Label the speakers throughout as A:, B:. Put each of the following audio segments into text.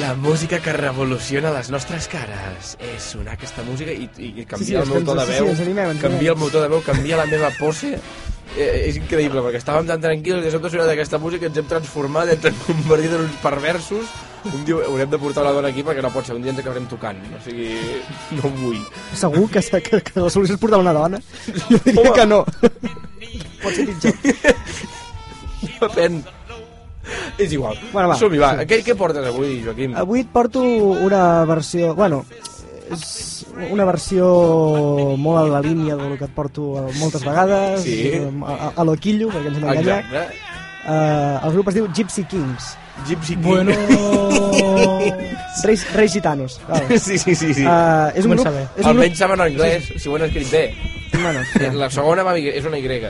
A: la música que revoluciona les nostres cares. És sonar aquesta música i, i canviar
B: Sí, sí,
A: el
B: les
A: motor de
B: cançons, sí,
A: veu,
B: sí, ens animem, ens
A: canviar
B: animem.
A: el motor de veu, canviar la meva pose... Eh, és increïble, perquè estàvem tan tranquils i de sobte ha sonat aquesta música, ens hem transformat, ens hem convertit en uns perversos. Un diu, haurem de portar la dona aquí perquè no pot ser, un dia ens acabarem tocant. O sigui, no ho vull.
B: Segur que, que, que la solució és portar una dona? Jo diria
A: Home.
B: que no. Pot ser pitjor.
A: Depèn. És igual.
B: Bueno, va,
A: Som-hi, va.
B: sí.
A: Què, què portes avui, Joaquim?
B: Avui et porto una versió... Bueno, és una versió molt a la línia del que et porto eh, moltes vegades,
A: Sí.
B: eh, a, a, a l'oquillo, perquè ens hem enganyat.
A: Exacte.
B: Uh, el grup es diu Gypsy Kings,
A: eh? Gypsy King.
C: Bueno...
B: Reis, Reis Gitanos. Vale.
A: Sí, sí, sí. sí.
B: Uh, és un
C: Comença
B: grup...
C: bé.
B: És un
A: Almenys
B: grup...
A: saben anglès, si ho han escrit bé.
B: No, no,
A: Eh, La segona va, és una Y.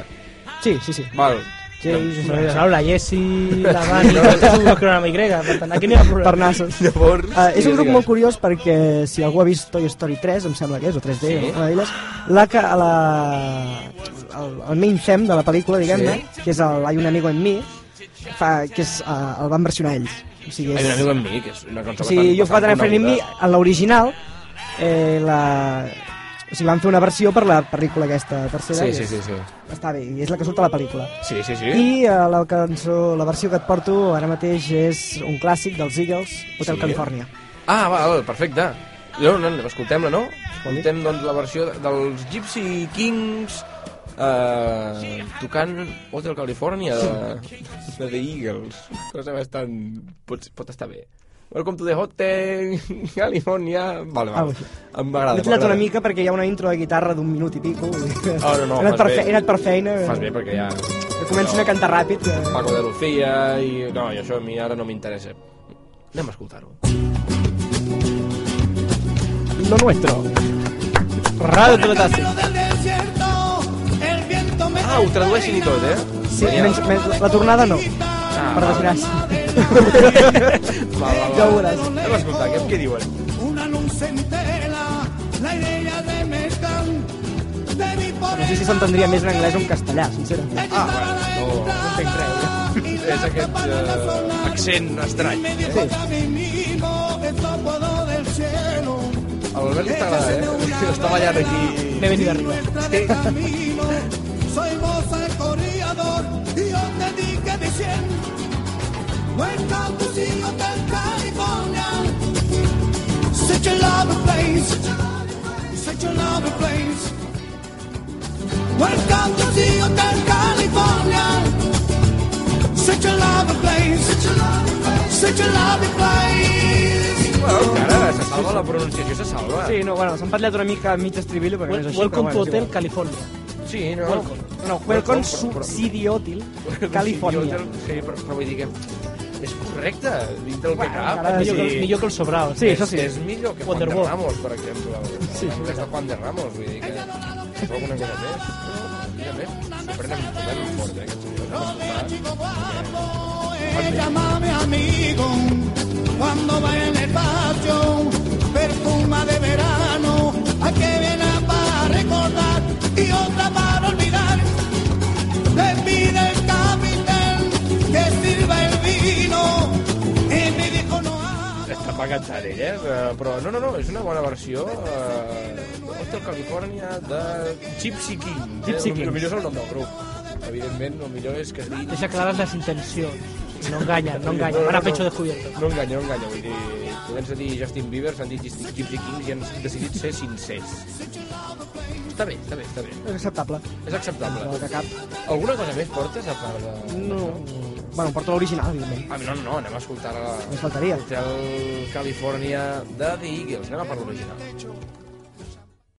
B: sí, sí, sí.
A: Val.
B: James,
C: Bueno, ja sabeu, la Jessi, la Dani, tots els grups que eren amb Y, per tant, aquí no hi ha problema.
B: Parnassos.
A: Llavors...
B: Uh, és un
A: digues,
B: grup
A: digues.
B: molt curiós perquè si algú ha vist Toy Story 3, em sembla que és, o 3D,
A: Sí.
B: sí. una d'elles, la que, la, el, el main theme de la pel·lícula, diguem-ne, sí. que és el Hay un amigo en mi, fa, que és, uh, el van versionar ells. O sigui,
A: Ai, un
B: és,
A: amigo en mi, que és una cançó
B: o sigui jo fa tant
A: bastant
B: a en mi,
A: coneguda.
B: en l'original, eh, la, o sigui, van fer una versió per la pel·lícula aquesta tercera,
A: Sí, sí, sí, sí.
B: sí. està bé, i és la que surt a la pel·lícula.
A: Sí, sí, sí.
B: I eh, la cançó, la versió que et porto ara mateix és un clàssic dels Eagles, Hotel
A: Sí.
B: sí. California.
A: Ah, val, perfecte. No, no, no, escoltem-la, no? Escoltem, doncs, la versió de- dels Gypsy Kings eh, tocant Hotel California de, de The Eagles. Cosa bastant... Pot, pot estar bé. Welcome to the Hotel California... Vale,
B: Ah,
A: vale.
B: sí.
A: Em m'agrada.
B: M'he tirat
A: m'agrada.
B: una mica perquè hi ha una intro de guitarra d'un minut i pico.
A: Oh, no, no,
B: he, anat
A: fas
B: per
A: bé.
B: fe, he anat per feina.
A: Fas bé perquè ja...
B: Que comencin a cantar ràpid. Eh,
A: Paco de Lucía i... No, i això a mi ara no m'interessa. Anem a escoltar-ho.
B: lo nuestro. Raro trotazo.
A: Ah, ho tradueixin i tot, eh?
B: Sí, menys, menys, la tornada no,
A: Ah,
B: per desgràcia.
A: Va, va, va.
B: Ja ho veuràs.
A: Anem a escoltar, què, què diuen?
D: Una luz centela, la idea de metal, de mi
B: No sé si s'entendria més en anglès o en castellà, sincerament.
A: Ah, bueno, no...
B: Entenc res.
A: és aquest eh, accent estrany. El Albert està, eh? està ballant aquí.
C: M'he venit arriba.
D: Soy moza el corredor y yo te dije diciendo Welcome to the Hotel California Such a lovely place Such a lovely place Welcome to the Hotel California Such a lovely place Such a lovely place
A: Bueno, encara se salva la pronunciació, se salva.
B: Sí, no, bueno, s'han patllat una mica a mig estribillo, perquè no és així.
C: Welcome
B: però,
C: to
B: bueno,
C: Hotel California.
A: sí no?
C: Welcome.
B: No, welcome
A: Però- però-
B: subsidiotil
A: Sí,
B: California.
A: jo- Sí, però, però vull dir que és correcte, dintre el que cap.
B: encara-
A: vull
C: Millor, que,
A: dir,
C: millor que el Sobral.
B: Sí,
A: és,
B: això sí.
A: És millor que Juan de
C: Wonderwall.
A: Ramos, per exemple. Sí. És de Juan de Ramos, vull dir que... És alguna cosa més. Mira més, s'ho prenen molt fort, eh, aquest senyor.
D: Llámame amigo cuando vaya en el patio, perfuma de verano, a que viene para recordar y otra para olvidar. Le pide el capitán que sirva el vino y me dijo no hagas.
A: Està pa cantant ell, eh? Eh, Però no, no, no, és una bona versió. Eh, Hotel California de Gypsy King.
C: Gypsy
A: eh? El- El
C: Kings.
A: millor és el nom del grup. Evidentment, el millor és que es digui...
C: Deixa clares les intencions. No enganyen, no enganyen. Van a pecho descubierto.
A: No enganya, no enganya. Vull dir, podem dir Justin Bieber, s'han dit Gypsy Gypsy Kings i han decidit ser sincers. Està bé, està bé, està bé.
B: És acceptable.
A: És acceptable.
B: No, de cap.
A: Alguna cosa més portes a part de...
B: No. Bueno, porto l'original, evidentment.
A: Ah, no, no, no, anem a escoltar la...
B: Només faltaria.
A: Hotel California de The Eagles. Anem a per l'original.